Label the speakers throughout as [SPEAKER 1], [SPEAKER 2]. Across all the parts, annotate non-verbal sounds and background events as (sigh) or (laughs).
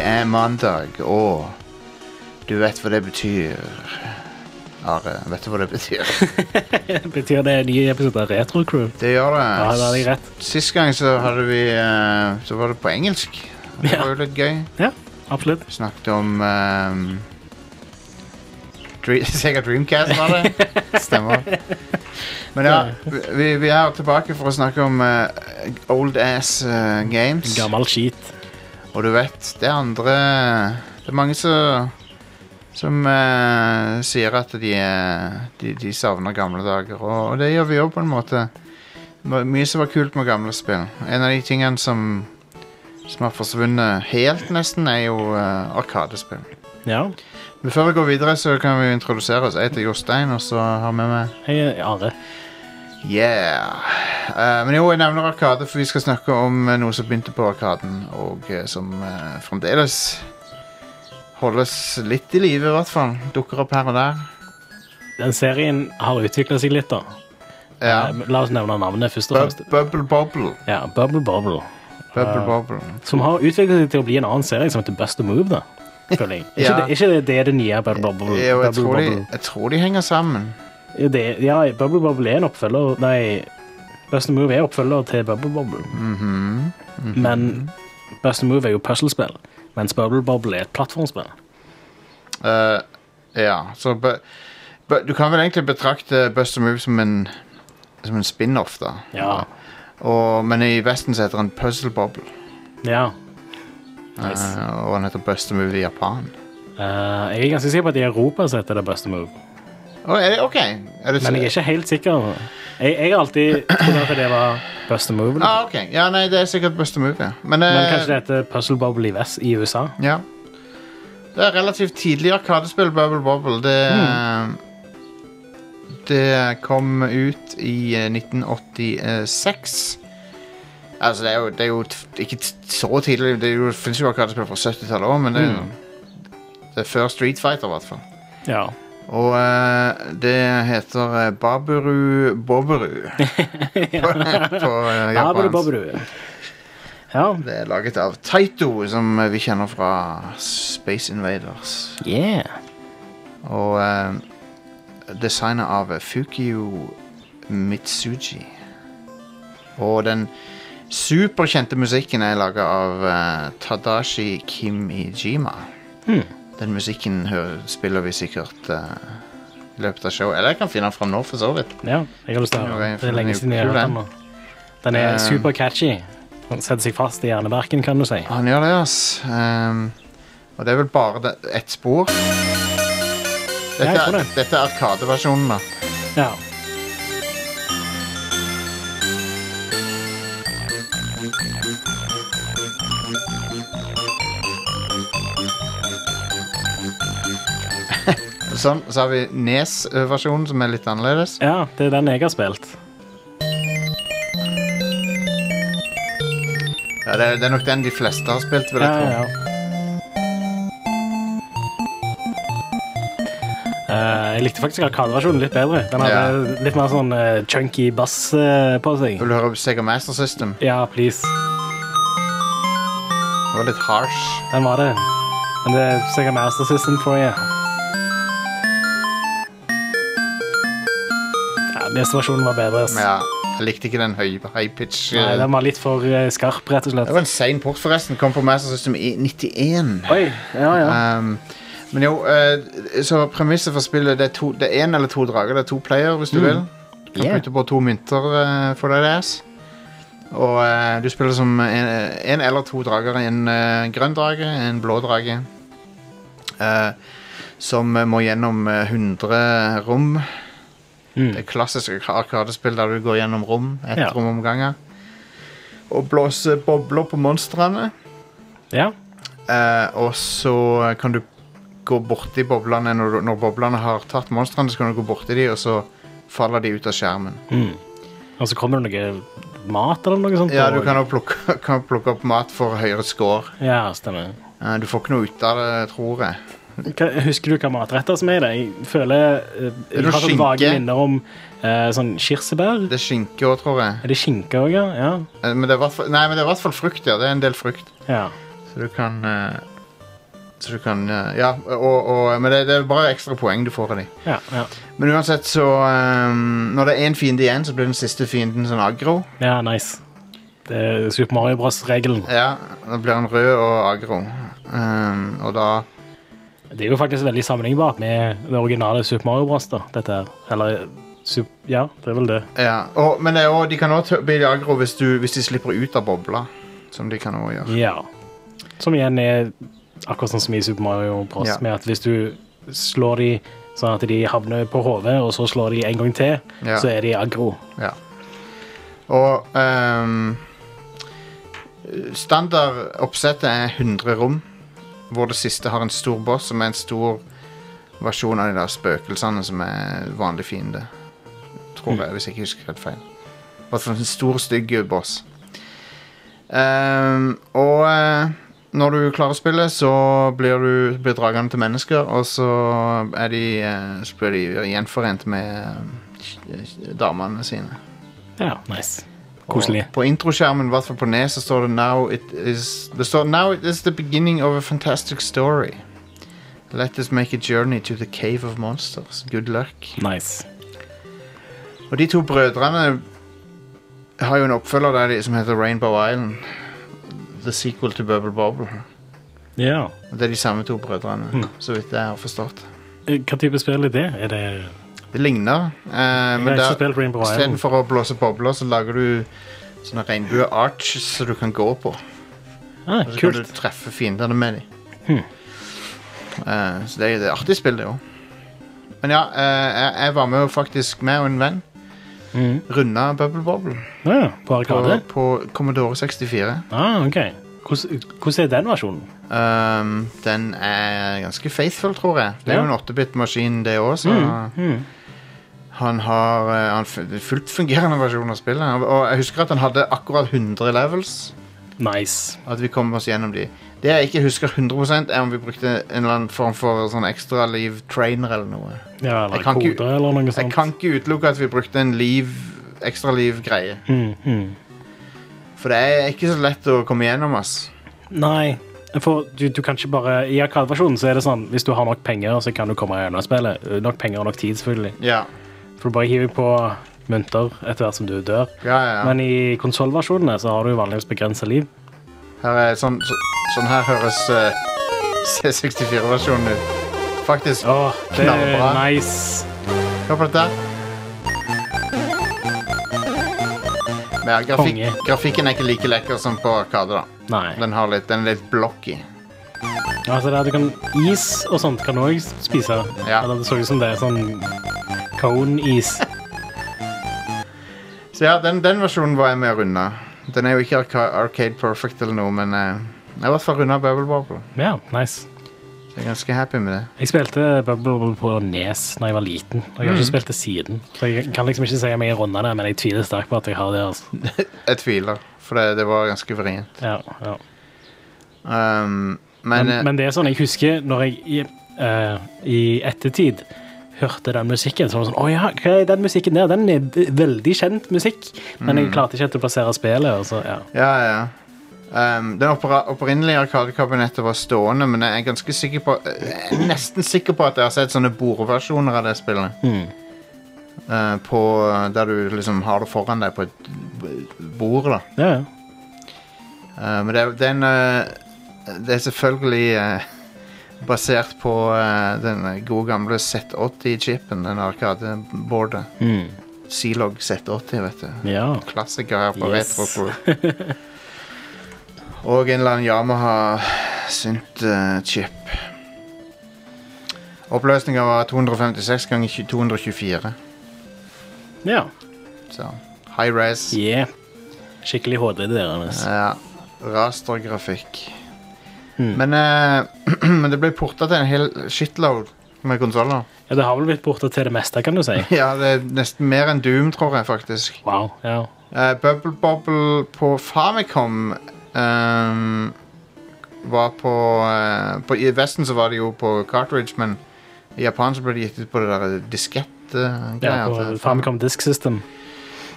[SPEAKER 1] er mandag, og du vet hva det betyr. Are, vet du hva det betyr?
[SPEAKER 2] Betyr det en ny episode av Retro Crew?
[SPEAKER 1] Det gjør det.
[SPEAKER 2] Ja, da hadde jeg rett.
[SPEAKER 1] Sist gang så hadde vi eh, Så var det på engelsk. Det
[SPEAKER 2] Ja.
[SPEAKER 1] var jo litt gøy.
[SPEAKER 2] Ja, absolutt.
[SPEAKER 1] Vi snakket om um, Dre (laughs) Sega Dreamcast, var
[SPEAKER 2] (laughs)
[SPEAKER 1] det? Stemmer. Men ja, vi, vi er tilbake for å snakke om eh, old ass eh, games.
[SPEAKER 2] Gammel skit.
[SPEAKER 1] Og du vet, det er andre Det er mange som som eh, sier at de, eh, de, de savner gamle dager, og, og det gjør vi òg, på en måte. My- Mye som var kult med gamle spill. En av de tingene som, som har forsvunnet helt, nesten, er jo eh, Arkadespill.
[SPEAKER 2] Ja.
[SPEAKER 1] Men før vi går videre, så kan vi jo introdusere oss. Jeg heter Jostein, og så har vi med
[SPEAKER 2] Hei, Are.
[SPEAKER 1] Yeah. Eh, men jo, jeg nevner Arkade, for vi skal snakke om eh, noe som begynte på Arkaden, og eh, som eh, fremdeles holdes litt i live, i hvert fall. Dukker opp her og der.
[SPEAKER 2] Den serien har utvikla seg litt, da.
[SPEAKER 1] Ja.
[SPEAKER 2] Eh, La oss nevne navnet først og
[SPEAKER 1] Bu
[SPEAKER 2] fremst.
[SPEAKER 1] bubble Bobble.
[SPEAKER 2] Ja, Bubble Bobble.
[SPEAKER 1] Bubble Bobble.
[SPEAKER 2] Som har utvikla seg til å bli en annen serie som heter Bust a Move, da. Føler jeg. Er
[SPEAKER 1] (laughs)
[SPEAKER 2] Ikke,
[SPEAKER 1] Ja.
[SPEAKER 2] det, er ikke det, det er det nye Bubble
[SPEAKER 1] Jo,
[SPEAKER 2] Bobble?
[SPEAKER 1] jeg
[SPEAKER 2] Bubble
[SPEAKER 1] tror, de,
[SPEAKER 2] Bobble?
[SPEAKER 1] jeg tror de henger sammen.
[SPEAKER 2] Jo, det- ja, Bubble Bobble er en oppfølger Nei, Bust a Move er oppfølger til Bubble Bobble.
[SPEAKER 1] Mhm,
[SPEAKER 2] Men Bust a Move er jo puslespill, mens Bubble Bobble er et plattformspill.
[SPEAKER 1] Eh, ja, så bu bu Du kan vel egentlig betrakte Buster Move som en, som en spin-off, da.
[SPEAKER 2] Ja.
[SPEAKER 1] Og, men i Vesten så heter han Puzzle Bobble,
[SPEAKER 2] ja.
[SPEAKER 1] eh,
[SPEAKER 2] Nice.
[SPEAKER 1] og han heter Buster Move i Japan.
[SPEAKER 2] Eh, jeg er ganske sikker på at i Europa så heter det Bust a Move.
[SPEAKER 1] Å, er det, ok. Er det,
[SPEAKER 2] Men jeg er ikke helt sikker. Jeg, jeg har alltid trodd at det var Bust a Move. eller?
[SPEAKER 1] Ah, ok. Ja, nei, det er sikkert beste move, ja. Men,
[SPEAKER 2] Men
[SPEAKER 1] eh,
[SPEAKER 2] kanskje det heter Puzzle Bubble i Vest i USA?
[SPEAKER 1] Ja. Det er relativt tidlig arkadespill, Bubble Bobble. Det, eh,
[SPEAKER 2] Mm.
[SPEAKER 1] det kom ut i eh, 1986. Altså, det er jo, det er jo t- ikke t- så tidlig. Det er jo- finnes jo arkadespill fra 70-tallet òg, men det, er
[SPEAKER 2] Mm.
[SPEAKER 1] jo- det er før Street Fighter, i hvert fall.
[SPEAKER 2] Ja.
[SPEAKER 1] Og eh, det heter eh, Baburu
[SPEAKER 2] (laughs)
[SPEAKER 1] Bobberu på, på eh,
[SPEAKER 2] Babru,
[SPEAKER 1] japansk.
[SPEAKER 2] babru. Ja.
[SPEAKER 1] Det er laget av Taito, som vi kjenner fra Space Invaders.
[SPEAKER 2] Yeah.
[SPEAKER 1] Og eh, designet av Fukio Mitsuji. Og den superkjente musikken er laget av eh, Tadashi Kimijima. Den musikken hø- spiller vi sikkert eh, i løpet av showet. Eller jeg kan finne den fram nå, for så vidt.
[SPEAKER 2] ja. Jeg har lyst til å
[SPEAKER 1] Ja,
[SPEAKER 2] høre
[SPEAKER 1] jeg
[SPEAKER 2] den. Det er lenge siden jeg har
[SPEAKER 1] tror
[SPEAKER 2] hørt den.
[SPEAKER 1] den.
[SPEAKER 2] nå. Den er
[SPEAKER 1] Um,
[SPEAKER 2] super catchy. Den setter seg fast i hjernebarken, kan du si.
[SPEAKER 1] Han gjør det, ass. Ehm, og det er vel bare det, ett spor. Dette,
[SPEAKER 2] jeg tror
[SPEAKER 1] er-
[SPEAKER 2] det.
[SPEAKER 1] dette er Arkade-versjonen, da.
[SPEAKER 2] Ja.
[SPEAKER 1] Sånn, så har vi Nes-versjonen, som er litt annerledes.
[SPEAKER 2] ja, det er den jeg har spilt.
[SPEAKER 1] Ja, det, er- det er nok den de fleste har spilt, vil jeg
[SPEAKER 2] Ja,
[SPEAKER 1] tro.
[SPEAKER 2] ja. Eh, jeg likte faktisk arkadeversjonen litt bedre. Den hadde litt mer sånn eh, chunky bass eh, på seg.
[SPEAKER 1] Vil du høre Sega Master System?
[SPEAKER 2] Ja, please.
[SPEAKER 1] Det var litt harsh.
[SPEAKER 2] Den var det. Men det er sikkert Master System for you. Ja, neste versjonen var bedre. ass.
[SPEAKER 1] Men ja, jeg likte ikke den høy, high pitch. eh,
[SPEAKER 2] Nei, den var litt for eh, skarp, rett og
[SPEAKER 1] Det
[SPEAKER 2] slett.
[SPEAKER 1] var en sein port, forresten. Kom på Master System i 91.
[SPEAKER 2] Oi, ja, ja.
[SPEAKER 1] Ehm, men jo, eh, så premisset for spillet Det er, to, det er en eller to drager. Det er to player, hvis du vil. Du kan
[SPEAKER 2] Mm. Yeah.
[SPEAKER 1] putte på to mynter eh, for deg deres. Og eh, du spiller som en, en eller to drager. En eh, grønn drage, en blå drage. eh, som eh, må gjennom eh, 100 rom. Det klassiske arkadespill der du går gjennom rom. Ett
[SPEAKER 2] Mm. Ja.
[SPEAKER 1] rom om gangen. Og blåser bobler på monstrene.
[SPEAKER 2] ja.
[SPEAKER 1] Eh, og så kan du gå borti boblene når, du- når boblene har tatt monstrene, så kan du gå borti de, og så faller de ut av skjermen.
[SPEAKER 2] Mm. Og så kommer det noe mat eller noe sånt.
[SPEAKER 1] Ja,
[SPEAKER 2] på-
[SPEAKER 1] du kan også plukke, (laughs) kan plukke opp mat for høyere score.
[SPEAKER 2] Ja, stemmer.
[SPEAKER 1] Eh, du får ikke noe ut av det, tror jeg.
[SPEAKER 2] Hva- Husker du hva matretter som er i det? Jeg føler eh,
[SPEAKER 1] Er
[SPEAKER 2] Jeg
[SPEAKER 1] det
[SPEAKER 2] har sånn
[SPEAKER 1] skinke?
[SPEAKER 2] vage minner om eh, sånn kirsebær.
[SPEAKER 1] Det er skinke òg, tror jeg.
[SPEAKER 2] Er det skinke òg, ja? ja?
[SPEAKER 1] Eh, Men det er i hvert fall- nei, men det er i hvert fall frukt, ja. Det er en del frukt.
[SPEAKER 2] Ja.
[SPEAKER 1] Så du kan eh, Så du kan eh, Ja, og, og, men det, det er bare ekstra poeng du får av dem.
[SPEAKER 2] Ja, ja.
[SPEAKER 1] Men uansett, så ehm, Når det er én fiende igjen, så blir den siste fienden sånn aggro.
[SPEAKER 2] ja nice. Det er Super Mario Bros.-regelen.
[SPEAKER 1] Ja, da blir han rød og aggro. Ehm, og da
[SPEAKER 2] Det er jo faktisk veldig sammenlignbart med det originale Super Mario Bros. da, dette her. Eller sup Ja, det er vel det.
[SPEAKER 1] Ja, og, men det er også, de kan også tø- bli aggro hvis, du, hvis de slipper ut av bobla. Som de kan også gjøre.
[SPEAKER 2] Ja. Som igjen er akkurat sånn som i Super Mario Bros.
[SPEAKER 1] Ja.
[SPEAKER 2] med at hvis du slår de sånn at de havner på hodet, og så slår de en gang til,
[SPEAKER 1] Ja.
[SPEAKER 2] så er de aggro.
[SPEAKER 1] Ja. Og ehm, standardoppsettet er 100 rom, hvor det siste har en stor boss, som er en stor versjon av de der spøkelsene som er vanlig fiende. Tror jeg, hvis jeg ikke husker helt feil. I hvert fall en stor, stygg boss. Ehm, og eh, når du klarer spillet, så blir, du, blir dragene til mennesker, og så, er de, eh, så blir de gjenforent med eh, damene sine.
[SPEAKER 2] Ja, nice. Koselig.
[SPEAKER 1] Og På introskjermen, i hvert fall på Nes, så står det Now it is Det står Now it is the beginning of a fantastic story. Let us make a journey to the cave of monsters. Good luck.
[SPEAKER 2] Nice.
[SPEAKER 1] Og de to brødrene har jo en oppfølger der de, som heter Rainbow Island. The sequel to Bubble Bobble.
[SPEAKER 2] Ja.
[SPEAKER 1] Og Det er de samme to brødrene,
[SPEAKER 2] Hmm.
[SPEAKER 1] så vidt jeg har forstått.
[SPEAKER 2] Eh, Hva type spill er det? Er det
[SPEAKER 1] Det ligner, eh,
[SPEAKER 2] Jeg
[SPEAKER 1] men
[SPEAKER 2] har ikke
[SPEAKER 1] der
[SPEAKER 2] spilt Rainbow Island.
[SPEAKER 1] istedenfor å blåse bobler, så lager du sånne regnbue-arches som du kan gå på.
[SPEAKER 2] Ah,
[SPEAKER 1] Og så kan
[SPEAKER 2] kult. Hm.
[SPEAKER 1] du treffe fiendene med dem. Eh, så det, er- det er artig spill, det òg. Men ja, eh, jeg, jeg var med jo faktisk med og en venn.
[SPEAKER 2] Mhm.
[SPEAKER 1] Runda Bubble Bobble
[SPEAKER 2] Ja, på Arkade?
[SPEAKER 1] på, på Commodore 64.
[SPEAKER 2] Ah, ok. Hvordan hvordan er den versjonen?
[SPEAKER 1] Um, den er ganske faithful, tror jeg. Det er
[SPEAKER 2] Ja.
[SPEAKER 1] jo en 8-bit-maskin, det òg, så
[SPEAKER 2] Mm.
[SPEAKER 1] han har eh, han f- fullt fungerende versjon av spillet. Og- Og jeg husker at han hadde akkurat 100 levels.
[SPEAKER 2] Nice.
[SPEAKER 1] At vi kom oss gjennom de. Det jeg ikke husker 100 er om vi brukte en eller annen form for sånn ekstra liv trainer eller noe.
[SPEAKER 2] Ja,
[SPEAKER 1] Jeg
[SPEAKER 2] eller
[SPEAKER 1] kan
[SPEAKER 2] koder
[SPEAKER 1] ikke-
[SPEAKER 2] eller noe
[SPEAKER 1] Jeg
[SPEAKER 2] sånt.
[SPEAKER 1] kan ikke utelukke at vi brukte en liv ekstra liv-greie.
[SPEAKER 2] Mm, mm.
[SPEAKER 1] For det er ikke så lett å komme gjennom, ass.
[SPEAKER 2] Nei, for du, du kan ikke bare I Arkade-versjonen så er det sånn hvis du har nok penger, så kan du komme gjennom spillet. Eh, Nok penger og nok tid, selvfølgelig.
[SPEAKER 1] Ja,
[SPEAKER 2] For du bare hiver på mynter etter hvert som du dør.
[SPEAKER 1] ja, ja.
[SPEAKER 2] Men i konsollversjonene så har du jo vanligvis begrensa liv.
[SPEAKER 1] Her er sånn, så, sånn her høres eh, (laughs) C64-versjonen ut. Faktisk.
[SPEAKER 2] Åh, det er
[SPEAKER 1] Knallbra.
[SPEAKER 2] nice.
[SPEAKER 1] Hør på dette. Men ja, grafikk,
[SPEAKER 2] Konge.
[SPEAKER 1] grafikken er ikke like lekker som på Arkade. da.
[SPEAKER 2] Nei.
[SPEAKER 1] Den, har litt, den er litt blocky.
[SPEAKER 2] Altså det er, du kan Is og sånt kan du òg spise.
[SPEAKER 1] Ja.
[SPEAKER 2] Eller det så ut som det er sånn cone-is.
[SPEAKER 1] Så ja, den, den versjonen var jeg med å runde. Den er jo ikke arca Arcade Perfect eller noe, men eh, jeg var for runda Bubble Bobble.
[SPEAKER 2] Ja, nice.
[SPEAKER 1] Så jeg er ganske happy med det.
[SPEAKER 2] Jeg spilte Bubble Bubble på Nes da jeg var liten, og jeg har ikke spilt det siden. Så jeg kan liksom ikke si om jeg er runda det, men jeg tviler sterkt på at jeg har det. altså.
[SPEAKER 1] Jeg tviler, for det, det var ganske vrient.
[SPEAKER 2] Ja, ja.
[SPEAKER 1] Um, men,
[SPEAKER 2] Men,
[SPEAKER 1] eh,
[SPEAKER 2] men det er sånn, jeg husker når jeg i, eh, i ettertid hørte den musikken, så var det sånn, å ja, hva er den musikken der, den er v- veldig kjent musikk, men jeg klarte ikke helt å plassere spillet, og så, ja.
[SPEAKER 1] eh, Ja, ja. Um, den opera- opprinnelige Arkadekabinettet var stående, men jeg er ganske sikker på jeg er nesten sikker på at jeg har sett sånne bordversjoner av det spillet. Eh, på, der du liksom har det foran deg på et b- bord, da.
[SPEAKER 2] Ja, ja.
[SPEAKER 1] Eh, men det, er- den, eh, det er selvfølgelig eh, basert på eh, den gode gamle Z80-chipen, den arkadebordet.
[SPEAKER 2] Mm.
[SPEAKER 1] Zilog Z80, vet du.
[SPEAKER 2] Ja,
[SPEAKER 1] Klassiker her på
[SPEAKER 2] Yes.
[SPEAKER 1] Retro Crew. Og en eller annen Yamaha eh, Synt-chip. Oppløsninga var 256 ganger 20 224.
[SPEAKER 2] ja.
[SPEAKER 1] Så high res.
[SPEAKER 2] Yeah. Skikkelig HD det der, altså.
[SPEAKER 1] Ja, rastergrafikk.
[SPEAKER 2] Hmm.
[SPEAKER 1] Men, eh, (clears throat) men det ble porta til en hel shitload med konsoller. (laughs)
[SPEAKER 2] Ja, det har vel blitt borte til det meste, kan du si.
[SPEAKER 1] Ja, det er nesten mer enn Doom, tror jeg faktisk.
[SPEAKER 2] Wow, ja.
[SPEAKER 1] Eh, Bubble Bobble på Famicom ehm, var på, eh, på I Vesten så var det jo på cartridge, men i Japan så ble det gitt ut på det der diskett. eh,
[SPEAKER 2] Det
[SPEAKER 1] greier
[SPEAKER 2] er på
[SPEAKER 1] til-
[SPEAKER 2] Famicom Disk System.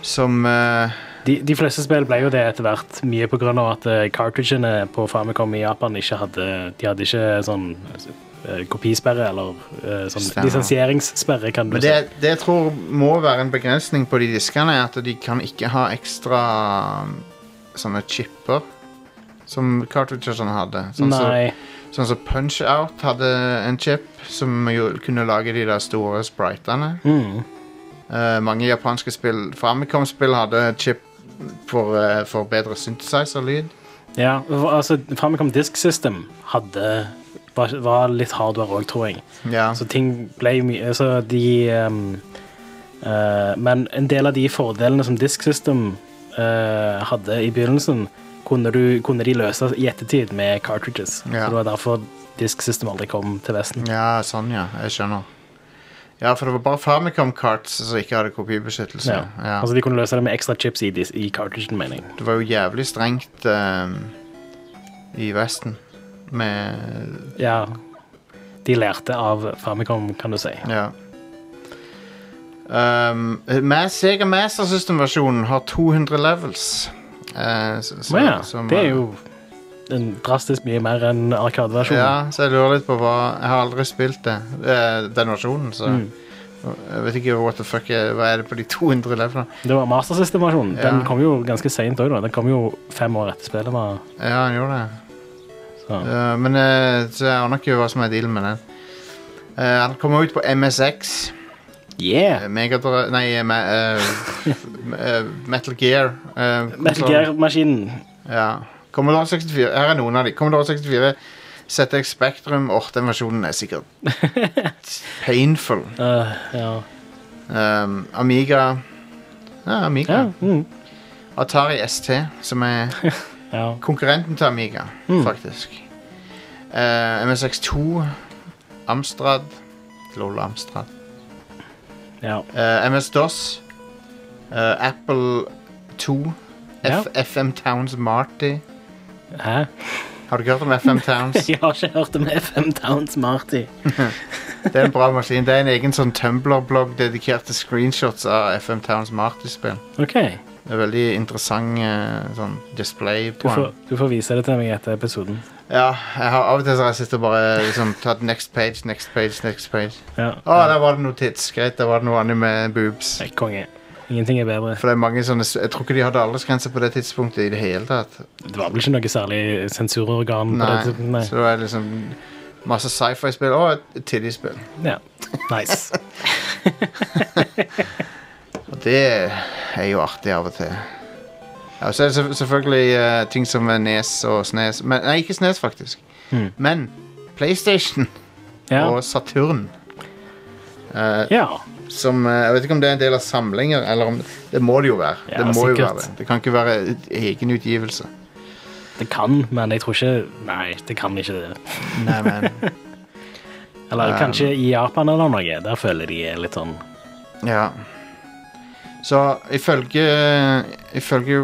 [SPEAKER 1] Som eh,
[SPEAKER 2] De, de fleste spill ble jo det etter hvert, mye på grunn av at eh, cartridgene på Famicom i Japan ikke hadde De hadde ikke sånn eh, kopisperre eller eh, sånn
[SPEAKER 1] Stemmer.
[SPEAKER 2] lisensieringssperre, kan du
[SPEAKER 1] Men
[SPEAKER 2] si.
[SPEAKER 1] det, det jeg tror må være en begrensning på de diskene, er at de kan ikke ha ekstra um, sånne chipper som cartridgersene hadde. Sånn som
[SPEAKER 2] Nei.
[SPEAKER 1] sånn som Punch-Out hadde en chip som jo kunne lage de der store spritene.
[SPEAKER 2] Mm.
[SPEAKER 1] Eh, mange japanske spill, Famicom-spill hadde chip for, eh, for bedre synthesizer-lyd.
[SPEAKER 2] Ja, hva- altså Famicom Disk System hadde var, var litt hardware òg, tror jeg.
[SPEAKER 1] Ja.
[SPEAKER 2] Så Altså, ting ble jo mye Så de ehm, eh, Men en del av de fordelene som Disk System eh, hadde i begynnelsen, kunne, du, kunne de løse i ettertid med cartridges.
[SPEAKER 1] Ja.
[SPEAKER 2] Så det var derfor Disk System aldri kom til Vesten.
[SPEAKER 1] ja, sånn, ja. Jeg skjønner. Ja, for det var bare Famicom-carts som ikke hadde kopibeskyttelse.
[SPEAKER 2] Ja.
[SPEAKER 1] Ja.
[SPEAKER 2] Altså De kunne løse det med ekstra chips i, dis- i cartridgen, mener jeg.
[SPEAKER 1] Det var jo jævlig strengt eh, i Vesten med
[SPEAKER 2] Ja. De lærte av Famicom, kan du si.
[SPEAKER 1] Ja. Um, Mas- Sega Master System-versjonen har 200 levels. Eh, så- så-
[SPEAKER 2] Men ja,
[SPEAKER 1] som,
[SPEAKER 2] det er
[SPEAKER 1] eh,
[SPEAKER 2] jo en drastisk mye mer enn Arkadeversjonen.
[SPEAKER 1] Ja, så jeg lurer litt på hva Jeg har aldri spilt det, eh, den versjonen, så
[SPEAKER 2] Mm.
[SPEAKER 1] jeg vet ikke what the fuck er, hva er det på de (laughs) 200 levelene.
[SPEAKER 2] Det var Master System-versjonen. Den
[SPEAKER 1] Ja.
[SPEAKER 2] kom jo ganske seint òg. Den kom jo fem år etter spillet. var-
[SPEAKER 1] Ja, han gjorde det.
[SPEAKER 2] Så.
[SPEAKER 1] Eh, men eh, så jeg aner ikke hva som er dealen med den. Eh, han kommer ut på MSX.
[SPEAKER 2] Yeah!
[SPEAKER 1] Megadrive Nei, eh, me, eh, eh, Metal Gear. eh,
[SPEAKER 2] (laughs) Metal
[SPEAKER 1] konsolen.
[SPEAKER 2] Gear-maskinen.
[SPEAKER 1] Ja. Commodore 64. Her er noen av de. Commodore 64, ZX Spectrum Åh, den versjonen er sikkert
[SPEAKER 2] (laughs)
[SPEAKER 1] painful.
[SPEAKER 2] Øh, ja.
[SPEAKER 1] Um, Amiga Ja, Amiga.
[SPEAKER 2] Ja, mm,
[SPEAKER 1] Atari ST, som er
[SPEAKER 2] ja.
[SPEAKER 1] konkurrenten til Amiga,
[SPEAKER 2] Mm.
[SPEAKER 1] faktisk. Eh, MSX2, Amstrad Lol, Amstrad.
[SPEAKER 2] ja.
[SPEAKER 1] Eh, MS-DOS, eh, Apple 2,
[SPEAKER 2] Ja.
[SPEAKER 1] F FM Towns Marty.
[SPEAKER 2] Hæ?
[SPEAKER 1] Har du ikke hørt om FM Towns?
[SPEAKER 2] (laughs) Jeg har ikke hørt om FM Towns Marty.
[SPEAKER 1] Det er en bra maskin. Det er en egen sånn Tumblr-blogg dedikert til screenshots av FM Towns Marty-spill.
[SPEAKER 2] OK.
[SPEAKER 1] Det er veldig interessant eh, sånn display
[SPEAKER 2] Du
[SPEAKER 1] på
[SPEAKER 2] får,
[SPEAKER 1] den.
[SPEAKER 2] du får vise det til meg etter episoden.
[SPEAKER 1] Ja, jeg har av og til så har jeg sittet og bare liksom, tatt next page, next page, next page.
[SPEAKER 2] Ja.
[SPEAKER 1] Å, der var det noe tits. Greit, der var det noe anime boobs.
[SPEAKER 2] Nei, Konge. Ingenting er bedre.
[SPEAKER 1] For det er mange sånne, s- Jeg tror ikke de hadde aldersgrense på det tidspunktet i det hele tatt.
[SPEAKER 2] Det var vel ikke noe særlig sensurorgan? på
[SPEAKER 1] Nei,
[SPEAKER 2] det tidspunktet,
[SPEAKER 1] Så det var liksom masse sci-fi-spill og et tidlig-spill.
[SPEAKER 2] Nei. Ja. Nice.
[SPEAKER 1] Og det er jo artig av og til. Ja, så er det selvf- selvfølgelig eh, ting som er Nes og Snes men, Nei, ikke Snes, faktisk.
[SPEAKER 2] Mm.
[SPEAKER 1] Men PlayStation
[SPEAKER 2] (laughs) Ja.
[SPEAKER 1] og Saturn eh,
[SPEAKER 2] ja.
[SPEAKER 1] som eh, Jeg vet ikke om det er en del av samlinger, eller om Det må det jo være.
[SPEAKER 2] Ja,
[SPEAKER 1] det må jo
[SPEAKER 2] sikkert.
[SPEAKER 1] være det. Det kan ikke være et- egen utgivelse.
[SPEAKER 2] Det kan, men jeg tror ikke Nei, det kan ikke det.
[SPEAKER 1] Nei, men
[SPEAKER 2] Eller
[SPEAKER 1] Um,
[SPEAKER 2] kanskje i Japan eller noe. Der føler de er litt sånn
[SPEAKER 1] Ja. Så ifølge Ifølge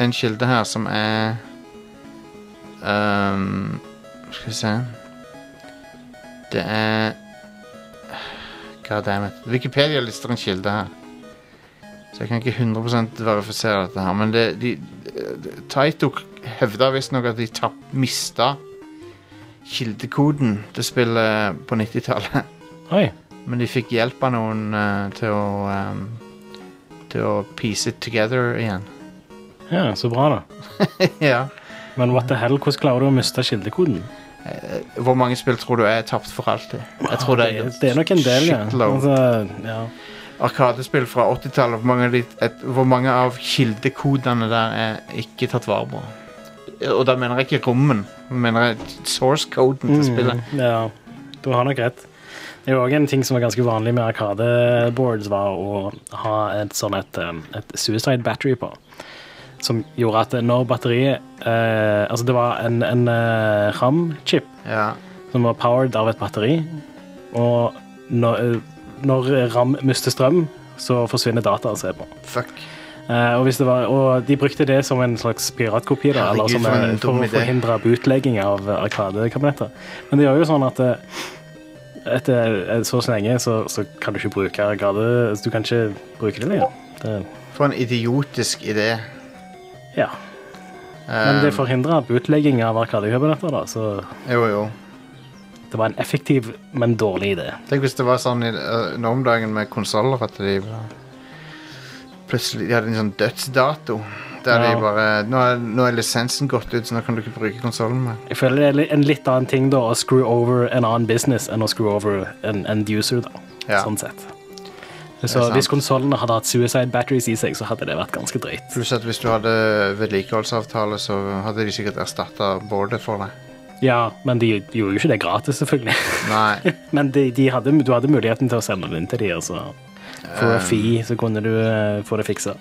[SPEAKER 1] en kilde her som er ehm, Skal vi se Det er God damn it. Wikipedia lister en kilde her. Så jeg kan ikke 100 verifisere dette her. Men det, de, de- Taito hevda visstnok at de tap, mista kildekoden til spillet på 90-tallet.
[SPEAKER 2] Oi.
[SPEAKER 1] Men de fikk hjelp av noen eh, til å ehm, Til å piece it together igjen. (laughs)
[SPEAKER 2] Ja, så bra, da.
[SPEAKER 1] ja.
[SPEAKER 2] Men what the hell, hvordan klarer du å miste kildekoden?
[SPEAKER 1] Eh, Hvor mange spill tror du er tapt for alltid? Jeg tror det er,
[SPEAKER 2] Ah, det er nok en del, ja.
[SPEAKER 1] shitload.
[SPEAKER 2] Altså, ja.
[SPEAKER 1] Arkadespill fra 80-tallet. Hvor, mange av de- et- hvor mange av kildekodene der er ikke tatt vare på? Og da mener jeg ikke rommen, men mener jeg source-coden til spillet.
[SPEAKER 2] Mm, ja, du har nok rett. Det er jo også en ting som var ganske vanlig med arkadeboards, var å ha et sånn et, um, et suicide battery på. Som gjorde at når batteriet eh, Altså, det var en, en eh, RAM-chip
[SPEAKER 1] Ja.
[SPEAKER 2] som var powered av et batteri. Og når, eh, når RAM mister strøm, så forsvinner dataet som er på.
[SPEAKER 1] Fuck.
[SPEAKER 2] Eh, og, hvis det var, og de brukte det som en slags piratkopi, da, eller
[SPEAKER 1] Herregud,
[SPEAKER 2] som
[SPEAKER 1] for en
[SPEAKER 2] en, for
[SPEAKER 1] dum
[SPEAKER 2] å
[SPEAKER 1] idé.
[SPEAKER 2] forhindre bootlegging av eh, Arkadekabinetter. Men det gjør jo sånn at eh, etter eh, så lenge så, så kan du ikke bruke Arkade Du kan ikke bruke det lenger. Det,
[SPEAKER 1] For en idiotisk idé.
[SPEAKER 2] Ja.
[SPEAKER 1] Um.
[SPEAKER 2] Men det forhindra bootlegging av Arkadekøbenetter, da, så
[SPEAKER 1] Eh, Jo, jo.
[SPEAKER 2] det var en effektiv, men dårlig idé.
[SPEAKER 1] Tenk hvis det var sånn i, eh, nå om dagen med konsoller at de bare- plutselig de hadde en sånn dødsdato. Der
[SPEAKER 2] Ja.
[SPEAKER 1] de bare nå er, nå er lisensen gått ut, så nå kan du ikke bruke konsollen mer.
[SPEAKER 2] Jeg føler det er li- en litt annen ting da å screw over en annen business enn å screw over en end user, da.
[SPEAKER 1] Ja.
[SPEAKER 2] Sånn sett. Så
[SPEAKER 1] sant.
[SPEAKER 2] hvis konsollene hadde hatt suicide batteries i seg, så hadde det vært ganske drøyt.
[SPEAKER 1] Pluss at hvis du hadde vedlikeholdsavtale, så hadde de sikkert erstatta boardet for deg.
[SPEAKER 2] Ja, men de gjorde jo ikke det gratis, selvfølgelig. (laughs)
[SPEAKER 1] Nei.
[SPEAKER 2] Men de, de hadde, du hadde muligheten til å sende den inn til de, altså. For en fee så kunne du eh, få det fiksa.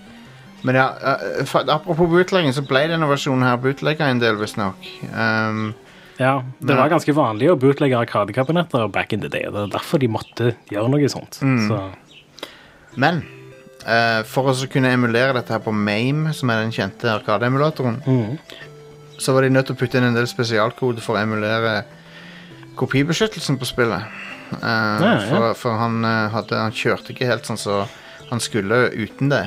[SPEAKER 1] Men ja, eh, fa- apropos bootlegging, så ble denne versjonen her bootlegga en del, visstnok. Um,
[SPEAKER 2] Ja, det
[SPEAKER 1] Men-
[SPEAKER 2] var ganske vanlig å bootlegge arkadekabinetter back in the day. Det er derfor de måtte gjøre noe sånt. Så,
[SPEAKER 1] Men eh, for å så kunne emulere dette her på Mame, som er den kjente Arkade-emulatoren,
[SPEAKER 2] mm.
[SPEAKER 1] så var de nødt til å putte inn en del spesialkode for å emulere kopibeskyttelsen på spillet. Eh,
[SPEAKER 2] ja.
[SPEAKER 1] For, for han, eh, hadde, han kjørte ikke helt sånn som han skulle uten det.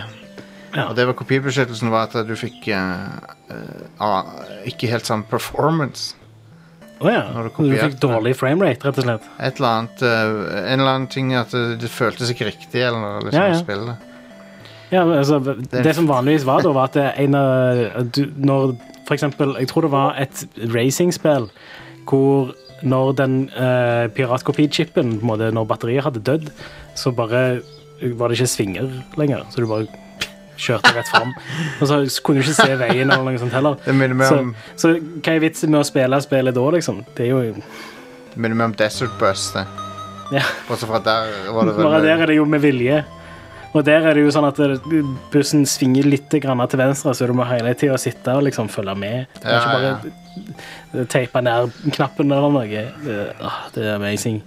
[SPEAKER 2] Ja.
[SPEAKER 1] Og det var kopibeskyttelsen var at du fikk eh, eh, ah, ikke helt samme performance.
[SPEAKER 2] Å ja.
[SPEAKER 1] Når du
[SPEAKER 2] Du fikk
[SPEAKER 1] kopierte det.
[SPEAKER 2] dårlig framerate, rett og slett.
[SPEAKER 1] Et eller annet, eh, en eller annen ting at det, det føltes ikke riktig. Eller, noe, liksom,
[SPEAKER 2] Ja, ja.
[SPEAKER 1] å spille.
[SPEAKER 2] Ja, altså, det, som vanligvis var da, var at det en av du, Når for eksempel Jeg tror det var et racingspill hvor når den uh, piratkopichipen, på en måte, når batteriet hadde dødd, så bare eh, var det ikke svinger lenger. Så du bare kjørte rett fram. Og så kunne du ikke se veien eller noe sånt heller.
[SPEAKER 1] Det minner meg
[SPEAKER 2] Så,
[SPEAKER 1] om-
[SPEAKER 2] så hva er vitsen med å spille spillet da, liksom? Det er jo
[SPEAKER 1] Det minner meg om Desert Bus. det.
[SPEAKER 2] Ja.
[SPEAKER 1] Bortsett fra der var det vel
[SPEAKER 2] (laughs) Bare der er det jo med vilje. Og der er det jo sånn at det- bussen svinger litt grann til venstre, så du må hele tida sitte og liksom følge med. Du kan
[SPEAKER 1] Ja,
[SPEAKER 2] ikke bare eh, teipe ned knappen eller noe. Det, ah, det er amazing.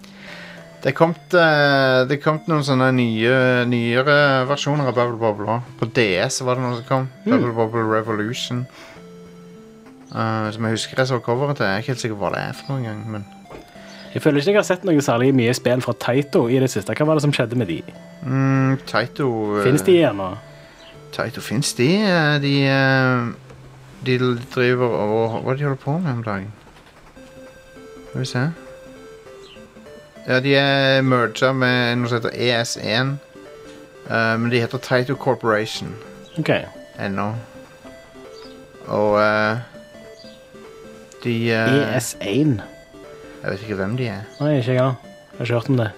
[SPEAKER 1] Det kom, eh, det kom noen sånne nye, nyere versjoner av Bubble Bubble også. På DS var det noe som kom.
[SPEAKER 2] Hmm.
[SPEAKER 1] Bubble Bubble Revolution. Eh, som jeg husker jeg så coveret til. Jeg er ikke helt sikker på hva det er for noen gang. Men
[SPEAKER 2] Jeg føler ikke jeg har sett noe særlig mye spill fra Taito i det siste. Hva var det som skjedde med de?
[SPEAKER 1] mm, Taito eh,
[SPEAKER 2] Finnes de igjen nå?
[SPEAKER 1] Taito fins de. eh, De, eh, de driver og Hva er det de holder på med om dagen? Skal vi se. Ja, de er merga med noe som heter E ES1. eh, men de heter Taito Corporation.
[SPEAKER 2] Ok.
[SPEAKER 1] ennå. Og eh, de eh,
[SPEAKER 2] ES1.
[SPEAKER 1] Jeg vet ikke hvem de er,
[SPEAKER 2] E Nei, ikke jeg heller. Jeg har ikke hørt om det.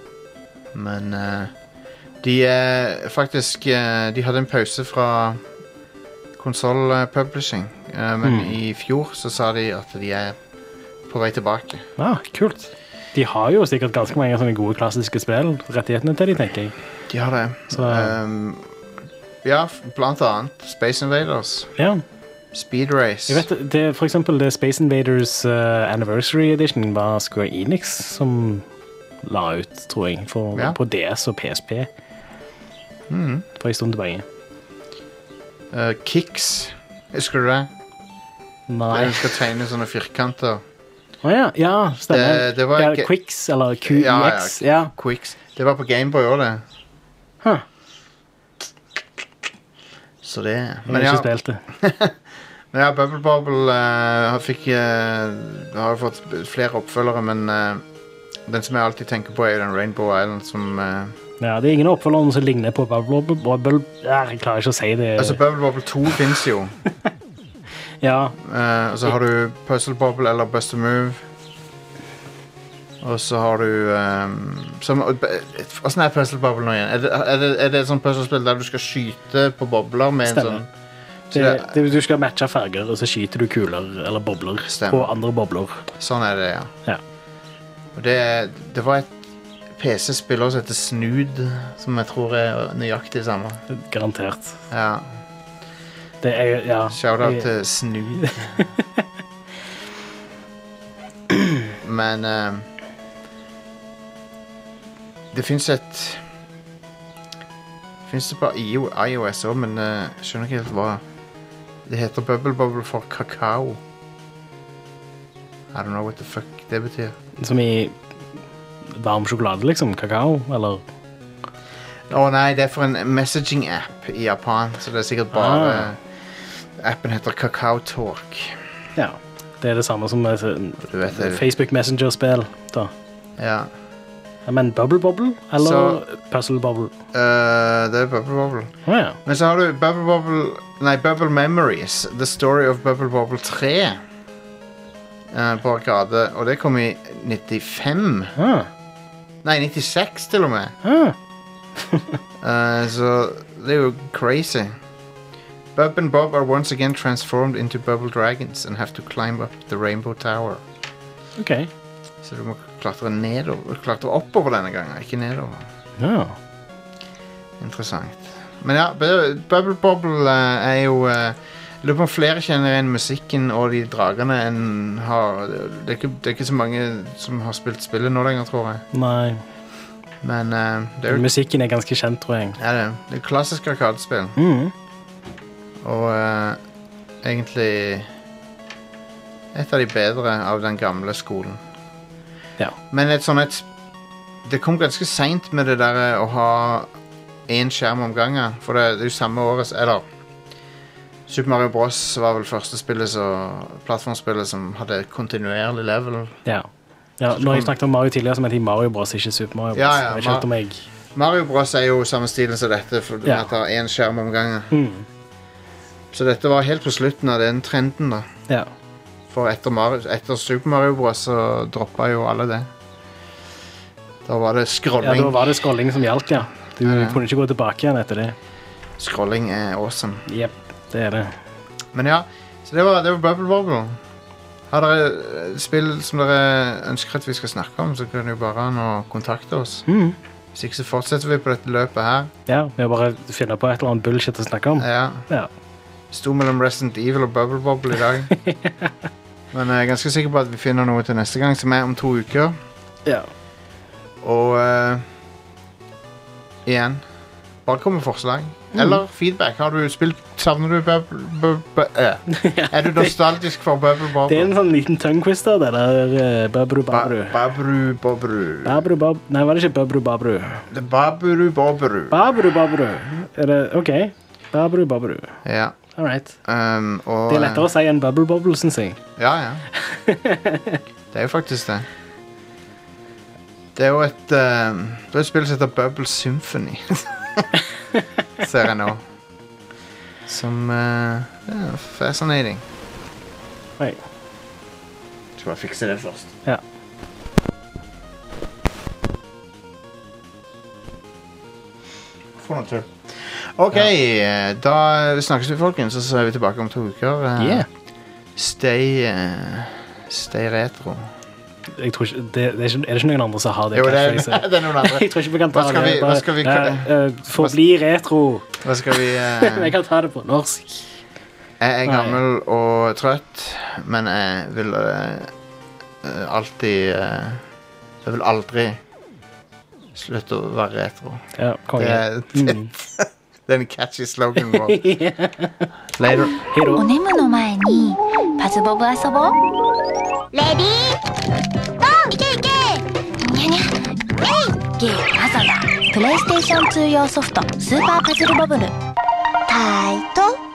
[SPEAKER 1] men eh, de er faktisk eh, De hadde en pause fra konsoll publishing, eh, men
[SPEAKER 2] Mm.
[SPEAKER 1] i fjor så sa de at de er på vei tilbake.
[SPEAKER 2] Ja, Ah, kult. De har jo sikkert ganske mange sånne gode klassiske spill. Rettighetene til de, tenker jeg.
[SPEAKER 1] De har det.
[SPEAKER 2] Så-
[SPEAKER 1] Um, ja, f- blant annet Space Invaders,
[SPEAKER 2] Ja.
[SPEAKER 1] Speed Race.
[SPEAKER 2] Jeg vet, det, for eksempel det Space Invaders eh, Anniversary Edition var Square Enix som la ut, tror jeg, for,
[SPEAKER 1] Ja.
[SPEAKER 2] på DS og PSP
[SPEAKER 1] Mhm.
[SPEAKER 2] for en stund tilbake.
[SPEAKER 1] Eh, Kicks, husker du det?
[SPEAKER 2] Nei.
[SPEAKER 1] Der du skal tegne sånne firkanter.
[SPEAKER 2] Å ja, ja, stemmer.
[SPEAKER 1] Det- det var
[SPEAKER 2] ja,
[SPEAKER 1] ikke-
[SPEAKER 2] Quicks, eller QEX.
[SPEAKER 1] Ja,
[SPEAKER 2] Ja,
[SPEAKER 1] ja. Quicks. Det var på Gameboy òg, det.
[SPEAKER 2] Huh.
[SPEAKER 1] Så det
[SPEAKER 2] Jeg har
[SPEAKER 1] Men ja,
[SPEAKER 2] ikke spilt det.
[SPEAKER 1] men ja Bubble Bobble eh, fikk, eh, har jo fått flere oppfølgere, men eh, den som jeg alltid tenker på, er jo den Rainbow Island som eh,
[SPEAKER 2] Ja, det er ingen oppfølgere som ligner på Bubble Bubble. Ja, Jeg klarer ikke å si det.
[SPEAKER 1] Altså, Bubble Bobble 2 fins jo.
[SPEAKER 2] ja,
[SPEAKER 1] Eh, og så har du Puzzle Bobble eller Bust a Move. Og så har du eh, som- og b- Åssen er Puzzle Bobble nå igjen? Er det, er det, er det et sånt puzzlespill der du skal skyte på bobler med en
[SPEAKER 2] Stemmer.
[SPEAKER 1] sånn så
[SPEAKER 2] det,
[SPEAKER 1] det,
[SPEAKER 2] det, du skal matche farger, og så skyter du kuler eller bobler
[SPEAKER 1] Stemmer.
[SPEAKER 2] på andre bobler.
[SPEAKER 1] Sånn er det, ja.
[SPEAKER 2] Ja.
[SPEAKER 1] Og det, det var et PC-spill også som heter Snood, som jeg tror er nøyaktig samme.
[SPEAKER 2] Garantert.
[SPEAKER 1] Ja.
[SPEAKER 2] Det er, ja.
[SPEAKER 1] Shout-out
[SPEAKER 2] Jeg-
[SPEAKER 1] til Snood. Men eh, Det fins et Fins det på IO, IOS òg, men eh, jeg skjønner ikke helt hva Det heter Bubble Bubble for kakao. I don't know what the fuck det betyr.
[SPEAKER 2] Som i varm sjokolade, liksom? Kakao? Eller
[SPEAKER 1] Å nei, det er for en messaging-app i Japan, så det er sikkert bare Appen heter Kakao Talk.
[SPEAKER 2] Ja. Det er det samme som eh,
[SPEAKER 1] Du vet det.
[SPEAKER 2] Facebook Messenger-spill. da.
[SPEAKER 1] Ja.
[SPEAKER 2] Men Bubble Bobble eller
[SPEAKER 1] Så-
[SPEAKER 2] Puzzle Bobble?
[SPEAKER 1] Eh, det er Bubble Bobble.
[SPEAKER 2] Å ja.
[SPEAKER 1] Men så har du Bubble Bobble Nei, Bubble Memories. The Story of Bubble Bobble 3. eh, på Arkade. Og det kom i 95.
[SPEAKER 2] Ah,
[SPEAKER 1] Nei, 96 til og med.
[SPEAKER 2] ah.
[SPEAKER 1] Eh, så det er jo crazy. Bub and Bob are once again transformed into bubble dragons and have to climb up the Rainbow Tower.
[SPEAKER 2] OK.
[SPEAKER 1] Så du må klatre nedover. Klatre oppover denne gangen, ikke nedover.
[SPEAKER 2] Ja.
[SPEAKER 1] Interessant. Men ja, Bu- Bubble Bobble eh, er jo eh, Jeg lurer på om flere kjenner igjen musikken og de dragene enn har det er, ikke, det er ikke så mange som har spilt spillet nå lenger, tror jeg.
[SPEAKER 2] Nei.
[SPEAKER 1] Men eh, det er jo
[SPEAKER 2] Musikken er ganske kjent, tror jeg.
[SPEAKER 1] ja, det er- det er et klassisk arkadespill.
[SPEAKER 2] Mm.
[SPEAKER 1] Og eh, egentlig et av de bedre av den gamle skolen.
[SPEAKER 2] Ja.
[SPEAKER 1] Men et sånn et Det kom ganske seint med det derre å ha én skjerm om gangen. For det, det er jo samme året Eller Super Mario Bros var vel første spillet som- plattformspillet som hadde kontinuerlig level.
[SPEAKER 2] Ja. ja. Når jeg snakket om Mario tidligere, så mente jeg Mario Bros, ikke Super Mario Bros.
[SPEAKER 1] Ja, ja,
[SPEAKER 2] jeg skjønte
[SPEAKER 1] Ma-
[SPEAKER 2] om jeg
[SPEAKER 1] Mario Bros er jo samme stilen som dette, for
[SPEAKER 2] Ja.
[SPEAKER 1] man tar én skjerm om gangen.
[SPEAKER 2] Mm.
[SPEAKER 1] Så dette var helt på slutten av den trenden, da.
[SPEAKER 2] Ja.
[SPEAKER 1] For etter, Mario, etter Super Mario Bros så droppa jo alle det. Da var det
[SPEAKER 2] ja,
[SPEAKER 1] scrolling.
[SPEAKER 2] da var det scrolling som gjaldt, ja. Du
[SPEAKER 1] Ja, ja.
[SPEAKER 2] kunne ikke gå tilbake igjen etter det.
[SPEAKER 1] Scrolling er awesome.
[SPEAKER 2] Jep, det er det.
[SPEAKER 1] Men ja, så det var, det var Bubble Bobble. Har dere eh, spill som dere ønsker at vi skal snakke om, så kan det jo bare an å kontakte oss.
[SPEAKER 2] Mm.
[SPEAKER 1] Hvis ikke så fortsetter vi på dette løpet her.
[SPEAKER 2] Ja, vi har bare funnet på et eller annet bullshit å snakke om.
[SPEAKER 1] Ja,
[SPEAKER 2] Ja.
[SPEAKER 1] Sto mellom Resident Evil og Bubble Bobble i
[SPEAKER 2] (laughs)
[SPEAKER 1] dag. Men jeg er ganske sikker på at vi finner noe til neste gang, som er om to uker.
[SPEAKER 2] ja.
[SPEAKER 1] Og eh, igjen Bare kom med forslag.
[SPEAKER 2] Mm.
[SPEAKER 1] Eller feedback. Har du spilt Savner du Bubble bu- bu-
[SPEAKER 2] (laughs)
[SPEAKER 1] eh. Er du nostalgisk for Bubble
[SPEAKER 2] Det er en
[SPEAKER 1] Bobble?
[SPEAKER 2] sånn liten tongue quiz der, det der eh, Babru Babru.
[SPEAKER 1] Ba- Babru Bobru.
[SPEAKER 2] Babru Bab... Nei, var det ikke Babru Babru?
[SPEAKER 1] Det er Babru Bobru.
[SPEAKER 2] Babru Babru. Er det OK? Babru Babru.
[SPEAKER 1] Ja.
[SPEAKER 2] All right.
[SPEAKER 1] Um, og,
[SPEAKER 2] Det er lettere å si enn Bubble Bobble, syns jeg.
[SPEAKER 1] eh, Ja,
[SPEAKER 2] (laughs)
[SPEAKER 1] ja. Det er jo faktisk det. Det er jo et, eh, det er et spill som heter Bubble
[SPEAKER 2] (laughs)
[SPEAKER 1] Symphony. (laughs) Ser jeg nå. Som eh, det er fascinating.
[SPEAKER 2] Oi.
[SPEAKER 1] Skal bare fikse det først.
[SPEAKER 2] Ja.
[SPEAKER 1] For noe tull. OK, eh, da snakkes vi, folkens, og så er vi tilbake om to uker. Eh,
[SPEAKER 2] Yeah.
[SPEAKER 1] Stay eh, Stay retro.
[SPEAKER 2] Jeg tror ikke, det, det er, ikke, er det ikke noen andre som har det?
[SPEAKER 1] Jo, det er, (laughs)
[SPEAKER 2] catchphrase?
[SPEAKER 1] det er noen andre.
[SPEAKER 2] Jeg tror ikke vi kan ta
[SPEAKER 1] Hva skal
[SPEAKER 2] det.
[SPEAKER 1] vi- hva skal vi kalle det?
[SPEAKER 2] Nei, eh, Forbli retro.
[SPEAKER 1] Hva skal vi eh,
[SPEAKER 2] Jeg kan ta (laughs) det på norsk.
[SPEAKER 1] Jeg er
[SPEAKER 2] Nei.
[SPEAKER 1] gammel og trøtt, men jeg vil eh, eh, alltid eh, Jeg vil aldri slutte å være retro.
[SPEAKER 2] Ja,
[SPEAKER 1] Det
[SPEAKER 2] konge. Mm.
[SPEAKER 1] er, (laughs) det er en catchy slogan
[SPEAKER 2] (laughs)
[SPEAKER 1] vår. Later.
[SPEAKER 3] おねむの前にパズボブ遊ぼうレディーゴーいけいけにゃにゃえいゲーム朝だプレイステーション2用ソフト「スーパーパズルボブル」タイト